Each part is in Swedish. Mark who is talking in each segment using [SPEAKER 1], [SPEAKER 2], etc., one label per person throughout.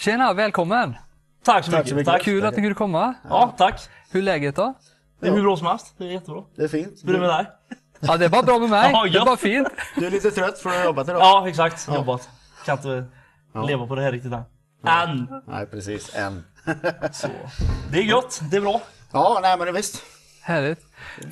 [SPEAKER 1] Tjena, välkommen!
[SPEAKER 2] Tack så
[SPEAKER 3] Tack
[SPEAKER 2] mycket.
[SPEAKER 3] så mycket.
[SPEAKER 2] Tack.
[SPEAKER 1] Kul att ni kunde komma.
[SPEAKER 2] Ja, tack.
[SPEAKER 1] Hur är läget då?
[SPEAKER 2] Det är hur bra som helst. Det är jättebra.
[SPEAKER 3] Det är fint.
[SPEAKER 2] Hur är det med dig?
[SPEAKER 1] Ja, det är bara bra med mig.
[SPEAKER 2] Ja,
[SPEAKER 1] Det
[SPEAKER 2] ja.
[SPEAKER 1] är bara fint.
[SPEAKER 3] Du är lite trött från att ha jobbat idag.
[SPEAKER 2] Ja, exakt. Jobbat. Kan inte
[SPEAKER 3] Ja.
[SPEAKER 2] leva på det här riktigt än. Än!
[SPEAKER 3] Nej, precis. En.
[SPEAKER 2] Så. Det är gött. Det är bra.
[SPEAKER 3] Ja, nej men visst.
[SPEAKER 1] Härligt.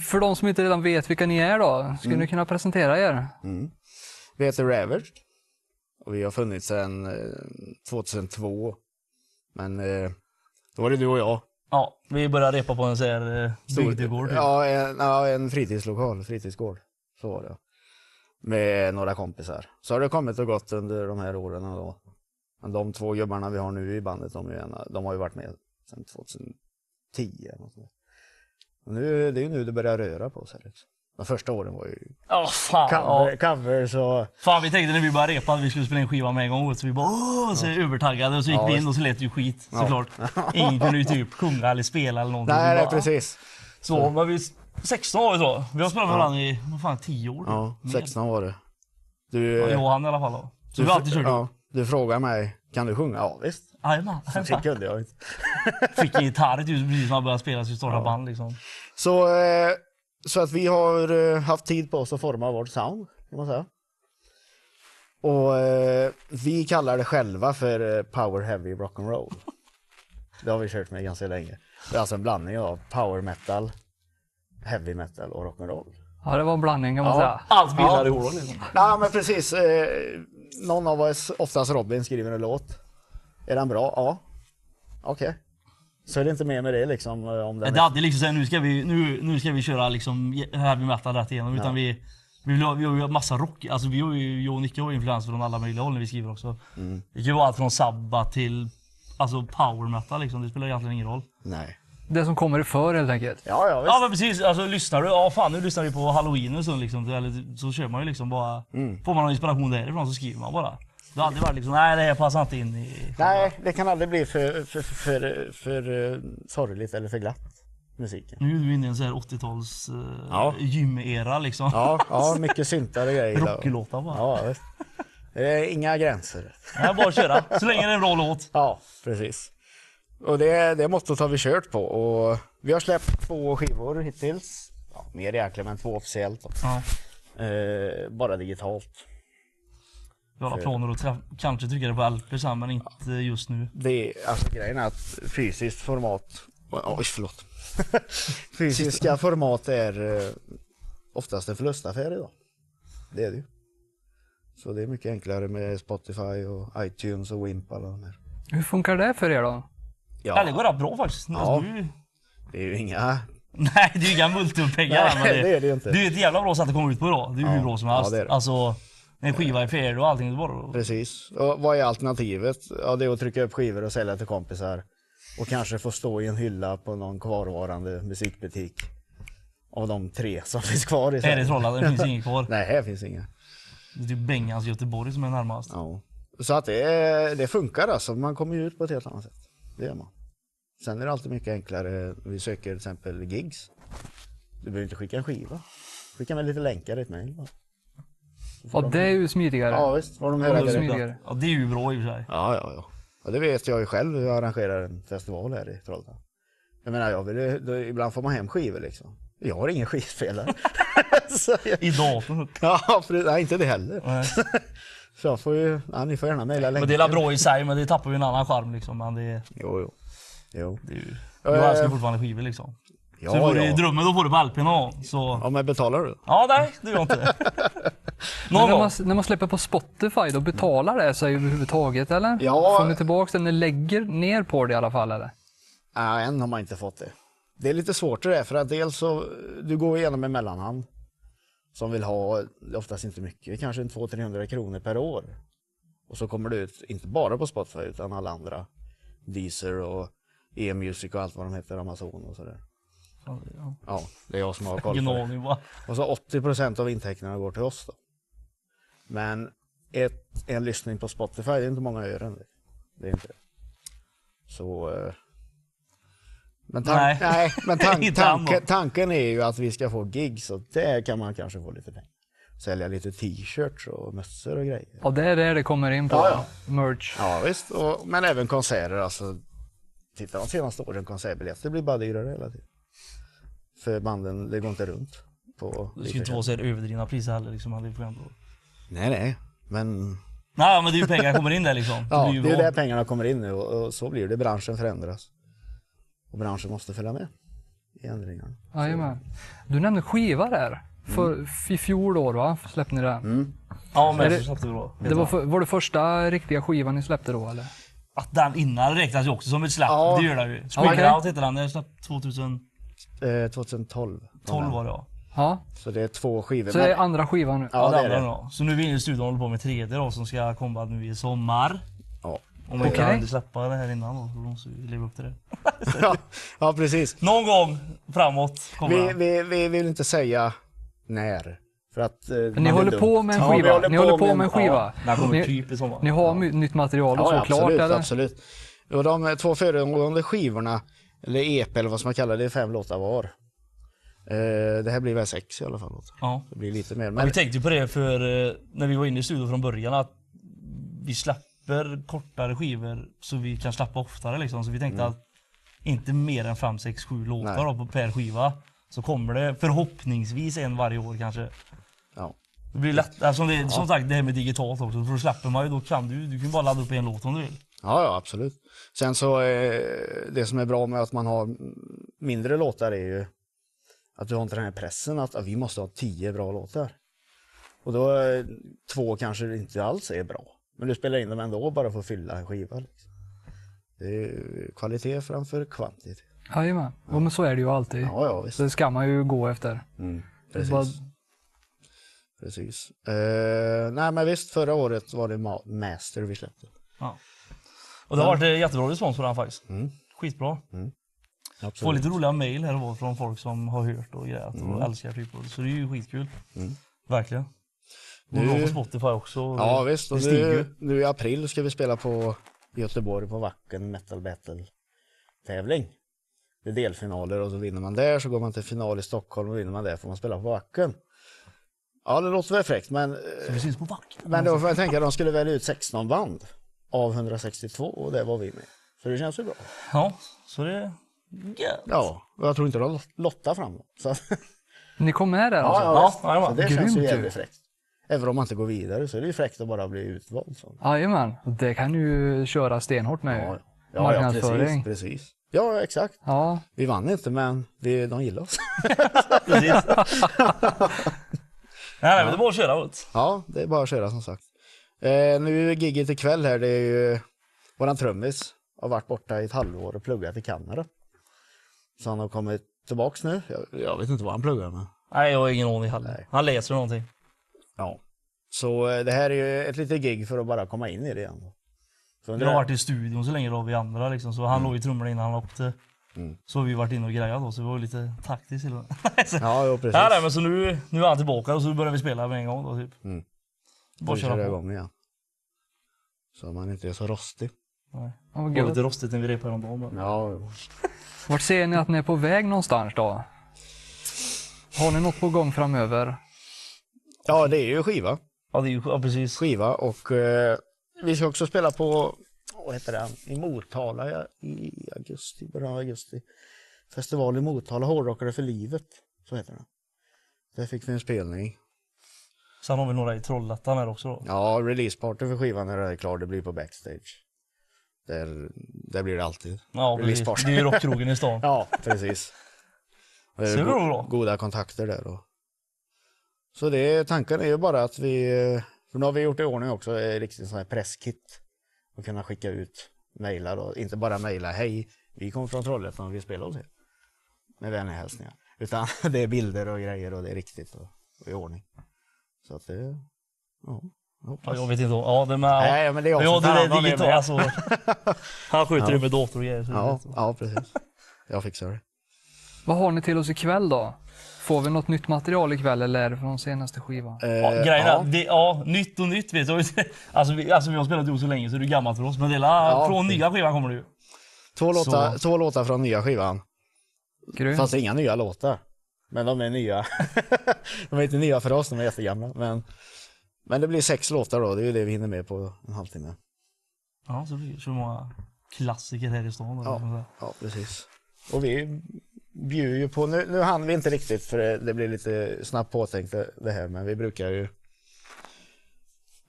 [SPEAKER 1] För de som inte redan vet vilka ni är då, skulle
[SPEAKER 3] Mm.
[SPEAKER 1] ni kunna presentera er?
[SPEAKER 3] Vi heter Ravaged. Och vi har funnits sedan eh, 2002. Men eh, då var det du och jag.
[SPEAKER 2] Ja, vi börjar repa på en sån här eh, bygdegård.
[SPEAKER 3] Ja, en, ja, en fritidslokal, fritidsgård. Så var det. Med några kompisar. Så har det kommit och gått under de här åren då. Men de två gubbarna vi har nu i bandet, de, är ju ena, de har ju varit med sedan 2010. eller något sånt där. Och nu, det är ju nu det börjar röra på sig. Liksom. De första åren var ju
[SPEAKER 2] Ja, fan. Ja.
[SPEAKER 3] cover, covers och...
[SPEAKER 2] Fan, vi tänkte när vi började repa att vi skulle spela in skiva med en gång. Så vi bara åh, så övertaggade. Och så gick
[SPEAKER 3] Ja,
[SPEAKER 2] vi in
[SPEAKER 3] visst.
[SPEAKER 2] och så lät det ju skit såklart. Ingen kunde ju typ sjunga eller spela eller någonting.
[SPEAKER 3] Nej,
[SPEAKER 2] vi
[SPEAKER 3] nej,
[SPEAKER 2] bara,
[SPEAKER 3] precis.
[SPEAKER 2] Så, men vi är 16 år idag. Vi har spelat med varandra i, vad fan, 10 år.
[SPEAKER 3] Ja,
[SPEAKER 2] Mer.
[SPEAKER 3] 16 var det. Du,
[SPEAKER 2] Ja, jag och han i alla fall. Då. Så
[SPEAKER 3] du,
[SPEAKER 2] vi har alltid kört ihop.
[SPEAKER 3] ja, du frågar mig, kan du sjunga? Ja, visst.
[SPEAKER 2] Jajamän.
[SPEAKER 3] Det kunde jag inte.
[SPEAKER 2] Fick en gitarr just precis när han började spela sitt stora band liksom.
[SPEAKER 3] Så, eh, så att vi har eh, haft tid på oss att forma vårt sound, kan man säga. Och eh, vi kallar det själva för eh, Power Heavy Rock'n'Roll. Det har vi kört med ganska länge. Det är alltså en blandning av power metal, heavy metal och rock'n'roll.
[SPEAKER 1] Ja, det var en blandning kan man
[SPEAKER 3] Ja.
[SPEAKER 1] säga.
[SPEAKER 2] Allt bildar ihop ja. liksom.
[SPEAKER 3] Ja men precis. Eh, någon av oss, oftast Robin, skriver en låt. Är den bra? Ja. Okej. Så är det inte mer med det liksom. eh, Om
[SPEAKER 2] Det
[SPEAKER 3] den
[SPEAKER 2] är aldrig liksom såhär, nu ska vi, nu, nu ska vi köra liksom heavy metal rätt igenom. Utan vi, vi, vill ha, vi har ju massa rock, alltså vi har ju, jag och Nicke har ju influenser från alla möjliga håll när vi skriver också. Det kan ju vara allt från Sabba till alltså power metal liksom, det spelar egentligen ingen roll.
[SPEAKER 3] Nej.
[SPEAKER 1] Det som kommer för helt enkelt.
[SPEAKER 3] Ja, ja visst.
[SPEAKER 2] Ja men precis, alltså lyssnar du, ja fan nu lyssnar vi på halloween och sånt liksom. Eller, så kör man ju liksom bara, får man någon inspiration därifrån så skriver man bara. Det har aldrig varit liksom, nej det här passar inte in i...
[SPEAKER 3] Nej, det kan aldrig bli för, för, för, för, för eh, sorgligt eller för glatt, musiken.
[SPEAKER 2] Nu är du inne i en sån här 80-tals eh,
[SPEAKER 3] Ja.
[SPEAKER 2] gymera liksom.
[SPEAKER 3] Ja, ja mycket syntar och grejer. där.
[SPEAKER 2] Rocklåtar bara.
[SPEAKER 3] Ja, visst. Det är inga gränser.
[SPEAKER 2] Nej, bara att köra. Så länge det är en bra låt.
[SPEAKER 3] Ja, precis. Och det, det mottot har vi kört på och vi har släppt två skivor hittills. Ja, mer egentligen, men två officiellt. Då.
[SPEAKER 2] Ja.
[SPEAKER 3] Eh, bara digitalt.
[SPEAKER 2] Vi har alla planer att träff- kanske trycka det på LP sen men inte just nu.
[SPEAKER 3] Det är, alltså grejen är att fysiskt format, oj förlåt. Fysiska format är eh, oftast en förlustaffär idag. Det är det ju. Så det är mycket enklare med Spotify och iTunes och Wimp och alla de här.
[SPEAKER 1] Hur funkar det för er då?
[SPEAKER 2] Ja.
[SPEAKER 3] Ja,
[SPEAKER 2] Det går rätt bra faktiskt.
[SPEAKER 3] Ja.
[SPEAKER 2] Nu,
[SPEAKER 3] det är ju inga...
[SPEAKER 2] nej det är ju inga multumpengar.
[SPEAKER 3] Nej,
[SPEAKER 2] men
[SPEAKER 3] det är det ju inte.
[SPEAKER 2] Det är ju ett jävla bra sätt att komma ut på idag. Det är ju hur bra som
[SPEAKER 3] Ja,
[SPEAKER 2] helst.
[SPEAKER 3] det är det.
[SPEAKER 2] Alltså, en skiva är fair och allting. Det är bara...
[SPEAKER 3] Precis. Och vad är alternativet? Ja, det är att trycka upp skivor och sälja till kompisar. Och kanske få stå i en hylla på någon kvarvarande musikbutik. Av de tre som finns kvar i
[SPEAKER 2] Här
[SPEAKER 3] Sverige.
[SPEAKER 2] är Trollhättan, det finns inget kvar.
[SPEAKER 3] Nej, här finns inga.
[SPEAKER 2] Det är typ Bengans Göteborg som är närmast.
[SPEAKER 3] Ja. Så att det, det funkar alltså. Man kommer ju ut på ett helt annat sätt. Det gör man. Sen är det alltid mycket enklare. Vi söker till exempel gigs. Du behöver inte skicka en skiva. Skicka med lite länkar i ett mejl. bara.
[SPEAKER 1] Ja, det är ju smidigare.
[SPEAKER 3] Ja visst, var de här
[SPEAKER 1] Ja,
[SPEAKER 3] ja,
[SPEAKER 1] det är
[SPEAKER 3] ja,
[SPEAKER 1] smidigare.
[SPEAKER 2] Ja, det är ju bra i och för sig.
[SPEAKER 3] ja, ja. ja, det vet jag ju själv. Jag arrangerar en festival här i Trollhättan. Jag menar, jag vill, då, ibland får man hem skivor liksom. Jag har ingen skivspelare. Så jag,
[SPEAKER 2] I datorn.
[SPEAKER 3] ja, för, nej, inte det heller.
[SPEAKER 2] Nej.
[SPEAKER 3] Så jag får ju, ja, ni får gärna mejla länkar.
[SPEAKER 2] Men det är la bra i sig men det tappar ju en annan charm liksom. Men det,
[SPEAKER 3] Jo, jo. Jo.
[SPEAKER 2] det är ju...
[SPEAKER 3] Eh.
[SPEAKER 2] Jag älskar fortfarande skivor liksom.
[SPEAKER 3] Ja,
[SPEAKER 2] Så får du
[SPEAKER 3] ja.
[SPEAKER 2] drömmen då får du på alpen någon Så...
[SPEAKER 3] Ja, men betalar du?
[SPEAKER 2] Ja, nej det gör jag inte. Någon
[SPEAKER 1] Men när,
[SPEAKER 2] gång.
[SPEAKER 1] man, när man släpper på Spotify, då betalar det sig överhuvudtaget eller?
[SPEAKER 3] Ja.
[SPEAKER 1] Får ni tillbaka det? Ni lägger ner på det i alla fall eller?
[SPEAKER 3] Nej, än har man inte fått det. Det är lite svårt det där, för att dels så, du går igenom en mellanhand som vill ha, oftast inte mycket, kanske en 200-300 kronor per år. Och så kommer det ut, inte bara på Spotify, utan alla andra. Deezer och E-music och allt vad de heter, Amazon och sådär. Ja, det är jag som har koll på det.
[SPEAKER 2] Gnål bara.
[SPEAKER 3] Och så 80 av intäkterna går till oss då. Men ett, en lyssning på Spotify, det är inte många ören. Det är inte det. Så... eh, Men, tan-
[SPEAKER 2] Nej.
[SPEAKER 3] nej. men tan-
[SPEAKER 2] Inte han då.
[SPEAKER 3] tanke- tanken är ju att vi ska få gig, så där kan man kanske få lite pengar. sälja lite t-shirts och mössor och grejer.
[SPEAKER 1] Ja, det är där det kommer in på.
[SPEAKER 3] Ja, ja.
[SPEAKER 1] Merch.
[SPEAKER 3] Ja visst, och, men även konserter. Alltså, titta de senaste åren, konsertbiljetter blir bara dyrare hela tiden. För banden, det går inte runt. På
[SPEAKER 2] Det ska ju inte vara så här överdrivna priser heller. Liksom. hade vi fått ändå-
[SPEAKER 3] Nej, nej. Men
[SPEAKER 2] Nej men det är ju pengar som kommer in där liksom.
[SPEAKER 3] ja,
[SPEAKER 2] blir ju
[SPEAKER 3] det är
[SPEAKER 2] bra.
[SPEAKER 3] där pengarna kommer in nu och, och så blir det. Branschen förändras. Och branschen måste följa med i ändringarna.
[SPEAKER 1] Jajamän. Du nämnde skiva där. För,
[SPEAKER 3] Mm.
[SPEAKER 1] I fjol då, va? släppte ni det.
[SPEAKER 2] Ja
[SPEAKER 1] Är
[SPEAKER 2] men
[SPEAKER 1] det-
[SPEAKER 2] så satte vi då.
[SPEAKER 1] Det var, för, var det första riktiga skivan ni släppte då eller?
[SPEAKER 2] Att den innan räknas ju också som ett släpp.
[SPEAKER 3] Ja.
[SPEAKER 2] Det gör den ju. Spring
[SPEAKER 1] Okej.
[SPEAKER 2] Out heter den. Den släpptes 2012
[SPEAKER 3] Eh, 2012.
[SPEAKER 2] var det ja.
[SPEAKER 1] Ja,
[SPEAKER 3] Så det är två skivor.
[SPEAKER 1] så det är andra skivan nu.
[SPEAKER 3] Ja, det är
[SPEAKER 2] andra
[SPEAKER 3] det.
[SPEAKER 2] Då. Så nu är vi inne i studion och håller på med tredje då som ska komma nu i sommar.
[SPEAKER 3] Ja.
[SPEAKER 2] Om vi
[SPEAKER 1] Okej.
[SPEAKER 2] kan inte släppa det här innan då. Så måste vi leva upp till det.
[SPEAKER 3] ja, ja, precis.
[SPEAKER 2] Någon gång framåt kommer
[SPEAKER 3] Vi,
[SPEAKER 2] den.
[SPEAKER 3] vi, vi vill inte säga när. För att, eh, man
[SPEAKER 1] Ni
[SPEAKER 3] är
[SPEAKER 1] håller
[SPEAKER 3] dum.
[SPEAKER 1] på med en
[SPEAKER 3] Ja, vi
[SPEAKER 1] skiva. Ni håller på med en skiva.
[SPEAKER 2] Den kommer
[SPEAKER 1] Ni,
[SPEAKER 2] typ i sommar.
[SPEAKER 1] ni har my- nytt material och så klart
[SPEAKER 3] absolut,
[SPEAKER 1] eller?
[SPEAKER 3] absolut. Och de två föregående skivorna, eller EP eller vad som man kallar det, är fem låtar var. Eh, det här blir väl sex i alla fall. låtar.
[SPEAKER 2] Ja.
[SPEAKER 3] Det blir lite mer.
[SPEAKER 2] Ja,
[SPEAKER 3] Men
[SPEAKER 2] vi tänkte ju på det för eh, när vi var inne i studion från början att vi släpper kortare skivor så vi kan släppa oftare liksom. Så vi tänkte att inte mer än 5, 6, 7 låtar då, på- per skiva. Så kommer det förhoppningsvis en varje år kanske.
[SPEAKER 3] ja.
[SPEAKER 2] Det blir lätt, alltså det, som sagt det här med digitalt också, för då släpper man ju, då kan du, du kan ju bara ladda upp en låt om du vill.
[SPEAKER 3] Ja, ja, absolut. Sen så, eh, det som är bra med att man har mindre låtar är ju att du har inte den här pressen att ah, vi måste ha tio bra låtar. Och då, eh, två kanske inte alls är bra. Men du spelar in dem ändå bara för att fylla en skiva. Liksom. Det är ju kvalitet framför kvantitet.
[SPEAKER 1] Jajamän. Ja, men så är det ju alltid.
[SPEAKER 3] Ja, ja, visst.
[SPEAKER 1] Så
[SPEAKER 3] Mm,
[SPEAKER 1] det ska man ju gå efter.
[SPEAKER 3] Precis.
[SPEAKER 1] Vad-
[SPEAKER 3] Precis. Eh, nej men visst, förra året var det Ma- Master vi släppte.
[SPEAKER 2] Ja. Och det har varit eh, jättebra respons på den faktiskt. Skitbra. Får lite roliga mejl här och var från folk som har hört och grejat och
[SPEAKER 3] Mm.
[SPEAKER 2] älskar typ. och- Så det är ju skitkul. Verkligen. Och
[SPEAKER 3] Nu-
[SPEAKER 2] bra på Spotify också.
[SPEAKER 3] Ja visst, och
[SPEAKER 2] det stiger
[SPEAKER 3] nu,
[SPEAKER 2] ju.
[SPEAKER 3] nu i april ska vi spela på i Göteborg på Wacken Metal Battle tävling. Det är delfinaler och så vinner man där så går man till final i Stockholm och vinner man där får man spela på Wacken. Ja det låter väl fräckt men, eh,
[SPEAKER 2] Så vi syns på vakten.
[SPEAKER 3] men då får jag tänka att de skulle välja ut 16 band av 162 och det var vi med. Så det känns ju bra.
[SPEAKER 2] Ja, så det... Yeah.
[SPEAKER 3] Ja, och jag tror inte de lottar fram dem. Så, att-
[SPEAKER 1] Ni kom med där alltså?
[SPEAKER 2] Ja,
[SPEAKER 3] visst.
[SPEAKER 2] jajamän.
[SPEAKER 3] så det
[SPEAKER 1] Grymt
[SPEAKER 3] känns ju
[SPEAKER 1] ju.
[SPEAKER 3] jävligt fräckt. Även om man inte går vidare så är det ju fräckt att bara bli utvald. Så.
[SPEAKER 1] Jajamän. Det kan ju köra stenhårt med.
[SPEAKER 3] Ja,
[SPEAKER 1] Ja,
[SPEAKER 3] ja, ja precis,
[SPEAKER 1] Marknadsföring.
[SPEAKER 3] precis. Ja, exakt.
[SPEAKER 1] ja.
[SPEAKER 3] Vi vann inte, men vi, de gillade oss.
[SPEAKER 2] Precis. nej, nej, men det är bara att köra. Ut.
[SPEAKER 3] Ja, det är bara att köra som sagt. Eh, nu är giget ikväll här, det är ju våran trummis har varit borta i ett halvår och pluggat i Kanada. Så han har kommit tillbaks nu. Jag, jag vet inte vad han pluggar med.
[SPEAKER 2] Nej, jag har ingen aning heller.
[SPEAKER 3] Nej.
[SPEAKER 2] Han läser någonting.
[SPEAKER 3] Ja. Så eh, det här är ju ett litet gig för att bara komma in i det igen. Så
[SPEAKER 2] Vi har varit i studion så länge då, vi andra liksom. Så han
[SPEAKER 3] Mm.
[SPEAKER 2] låg i trummorna innan han åkte. Så har vi varit inne och grejat då, så vi var ju lite taktiskt till och med. Så-
[SPEAKER 3] Ja, jo, precis.
[SPEAKER 2] Nej, nej, men så nu, nu är han tillbaka och så börjar vi spela med en gång då typ.
[SPEAKER 3] Mm.
[SPEAKER 2] Bara
[SPEAKER 3] Vi kör
[SPEAKER 2] köra på.
[SPEAKER 3] igång igen. Så man inte är så rostig.
[SPEAKER 2] Nej.
[SPEAKER 1] Ja, vad
[SPEAKER 2] Det var
[SPEAKER 1] gött.
[SPEAKER 2] lite rostigt när vi repade häromdagen. men-
[SPEAKER 3] Ja, jo.
[SPEAKER 1] Vart ser ni att ni är på väg någonstans då? Har ni något på gång framöver?
[SPEAKER 3] ja, det är ju skiva.
[SPEAKER 2] Ja, det är ju, ja precis.
[SPEAKER 3] skiva och eh, vi ska också spela på, vad heter det, i Motala ja, i augusti, början av augusti. Festival i Motala, Hårdrockare för livet, så heter den. Där fick vi en spelning.
[SPEAKER 2] Sen har vi några i Trollhättan här också då.
[SPEAKER 3] Ja, releaseparty för skivan när den är klar, det blir på backstage. Där, där blir det alltid.
[SPEAKER 2] Ja, precis.
[SPEAKER 3] Releasepart.
[SPEAKER 2] Det är ju rockkrogen i stan.
[SPEAKER 3] Ja, precis. Och det är
[SPEAKER 2] Så det
[SPEAKER 3] go-
[SPEAKER 2] var bra.
[SPEAKER 3] Goda kontakter där. Och. Så det, tanken är ju bara att vi, eh, för nu har vi gjort i ordning också, eh, riktigt sån här presskit. Och kunna skicka ut mejlar och inte bara mejla hej, vi kommer från Trollhättan och vi spelar hos er. Med vänliga hälsningar. Utan det är bilder och grejer och det är riktigt och, och i ordning. Så att det, ja, jag
[SPEAKER 2] Ja,
[SPEAKER 3] hoppas.
[SPEAKER 2] jag vet inte. om- Ja, det med, ja.
[SPEAKER 3] Nej, men det är jag
[SPEAKER 2] ja,
[SPEAKER 3] som
[SPEAKER 2] det
[SPEAKER 3] tar hand
[SPEAKER 2] är
[SPEAKER 3] om det
[SPEAKER 2] digitalt.
[SPEAKER 3] med.
[SPEAKER 2] Alltså, han skjuter ju med dator och grejer. så det är
[SPEAKER 3] Ja,
[SPEAKER 2] lite så.
[SPEAKER 3] ja, precis. Jag fixar det.
[SPEAKER 1] Vad har ni till oss ikväll då? Får vi något nytt material ikväll eller är det från senaste skivan?
[SPEAKER 2] Ja,
[SPEAKER 3] Eh,
[SPEAKER 2] grejen är,
[SPEAKER 3] ja.
[SPEAKER 2] ja. Det, ja, nytt och nytt vet jag. Alltså vi, alltså, vi har spelat ihop så länge så det är gammalt för oss. Men det är la-
[SPEAKER 3] Ja,
[SPEAKER 2] från nya skivan kommer det ju.
[SPEAKER 3] Två låtar, två låtar från nya skivan.
[SPEAKER 1] Grymt.
[SPEAKER 3] Fast inga nya låtar. Men de är nya. de är inte nya för oss, de är jättegamla. Men, men det blir sex låtar då, det är ju det vi hinner med på en halvtimme.
[SPEAKER 2] Ja, så blir det så många klassiker här i stan. då, liksom så här.
[SPEAKER 3] Ja, precis. Och vi bjuder ju på, nu, nu hann vi inte riktigt för det, det blir lite snabbt påtänkt det, det här, men vi brukar ju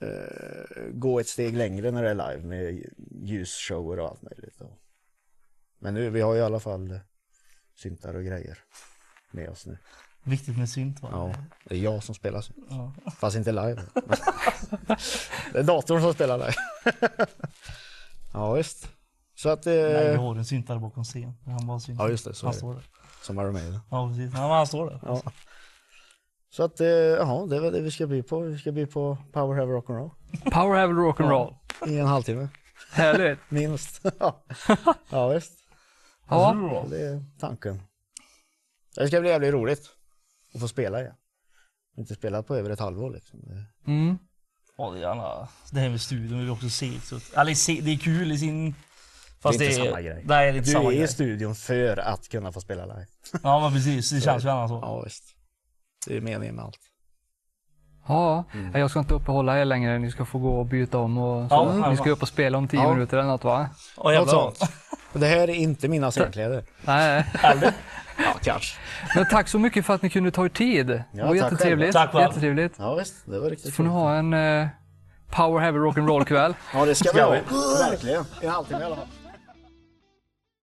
[SPEAKER 3] eh, gå ett steg längre när det är live med ljusshower och allt möjligt. Och, men nu, vi har ju i alla fall syntar och grejer med oss nu.
[SPEAKER 2] Viktigt med synt va?
[SPEAKER 3] Ja, det är jag som spelar synt. Fast inte live. det är datorn som spelar live. ja, visst. Så att... Eh,
[SPEAKER 2] Nej, jag har en syntare bakom scen. Han bara synt.
[SPEAKER 3] Ja, just det, så
[SPEAKER 2] han
[SPEAKER 3] är det.
[SPEAKER 2] står där.
[SPEAKER 3] som Iron Maiden.
[SPEAKER 2] Ja, precis. Ja, men han står där.
[SPEAKER 3] Ja. Så att, eh, ja, det är väl det vi ska bli på. Vi ska bli på Power Have Rock'n'Roll
[SPEAKER 1] Power Havel Rock'n'Roll.
[SPEAKER 3] i en halvtimme,
[SPEAKER 1] Härligt.
[SPEAKER 3] minst. ja, visst.
[SPEAKER 1] Ja.
[SPEAKER 3] Det är tanken. Det ska bli jävligt roligt att få spela igen. Inte spelat på över ett halvår liksom. Det-
[SPEAKER 1] Mm.
[SPEAKER 2] Ja, det, är alla, det här med studion är också segt. så att- Eller se, det är kul i sin... Fast
[SPEAKER 3] Det är inte samma grej.
[SPEAKER 2] Nej, det är inte
[SPEAKER 3] Du
[SPEAKER 2] samma
[SPEAKER 3] är i
[SPEAKER 2] grej.
[SPEAKER 3] studion för att kunna få spela live.
[SPEAKER 2] Ja, men precis. Det känns ju annars så.
[SPEAKER 3] Ja, visst. Det är meningen med allt.
[SPEAKER 1] Ja, jag ska inte uppehålla er längre. Ni ska få gå och byta om och så.
[SPEAKER 2] Ja, ja,
[SPEAKER 1] Ni ska
[SPEAKER 2] ja.
[SPEAKER 1] upp och spela om tio
[SPEAKER 3] Ja.
[SPEAKER 1] minuter eller något va?
[SPEAKER 2] Åh,
[SPEAKER 3] Något
[SPEAKER 2] jävlar.
[SPEAKER 3] sånt. Och Det här är inte mina scenkläder.
[SPEAKER 1] Nej.
[SPEAKER 3] Ja, kanske.
[SPEAKER 1] Men tack så mycket för att ni kunde ta er tid. Det
[SPEAKER 3] Ja,
[SPEAKER 1] var
[SPEAKER 3] tack själv.
[SPEAKER 1] jättetrevligt.
[SPEAKER 2] Tack själv.
[SPEAKER 1] jättetrevligt.
[SPEAKER 3] Ja, visst. Det var riktigt
[SPEAKER 1] får ni
[SPEAKER 3] kul.
[SPEAKER 1] ha en eh, Power Heavy Rock'n'Roll kväll.
[SPEAKER 3] Ja, det ska vi
[SPEAKER 2] Ska
[SPEAKER 3] ha.
[SPEAKER 2] vi?
[SPEAKER 3] Verkligen. En halvtimme i alla fall.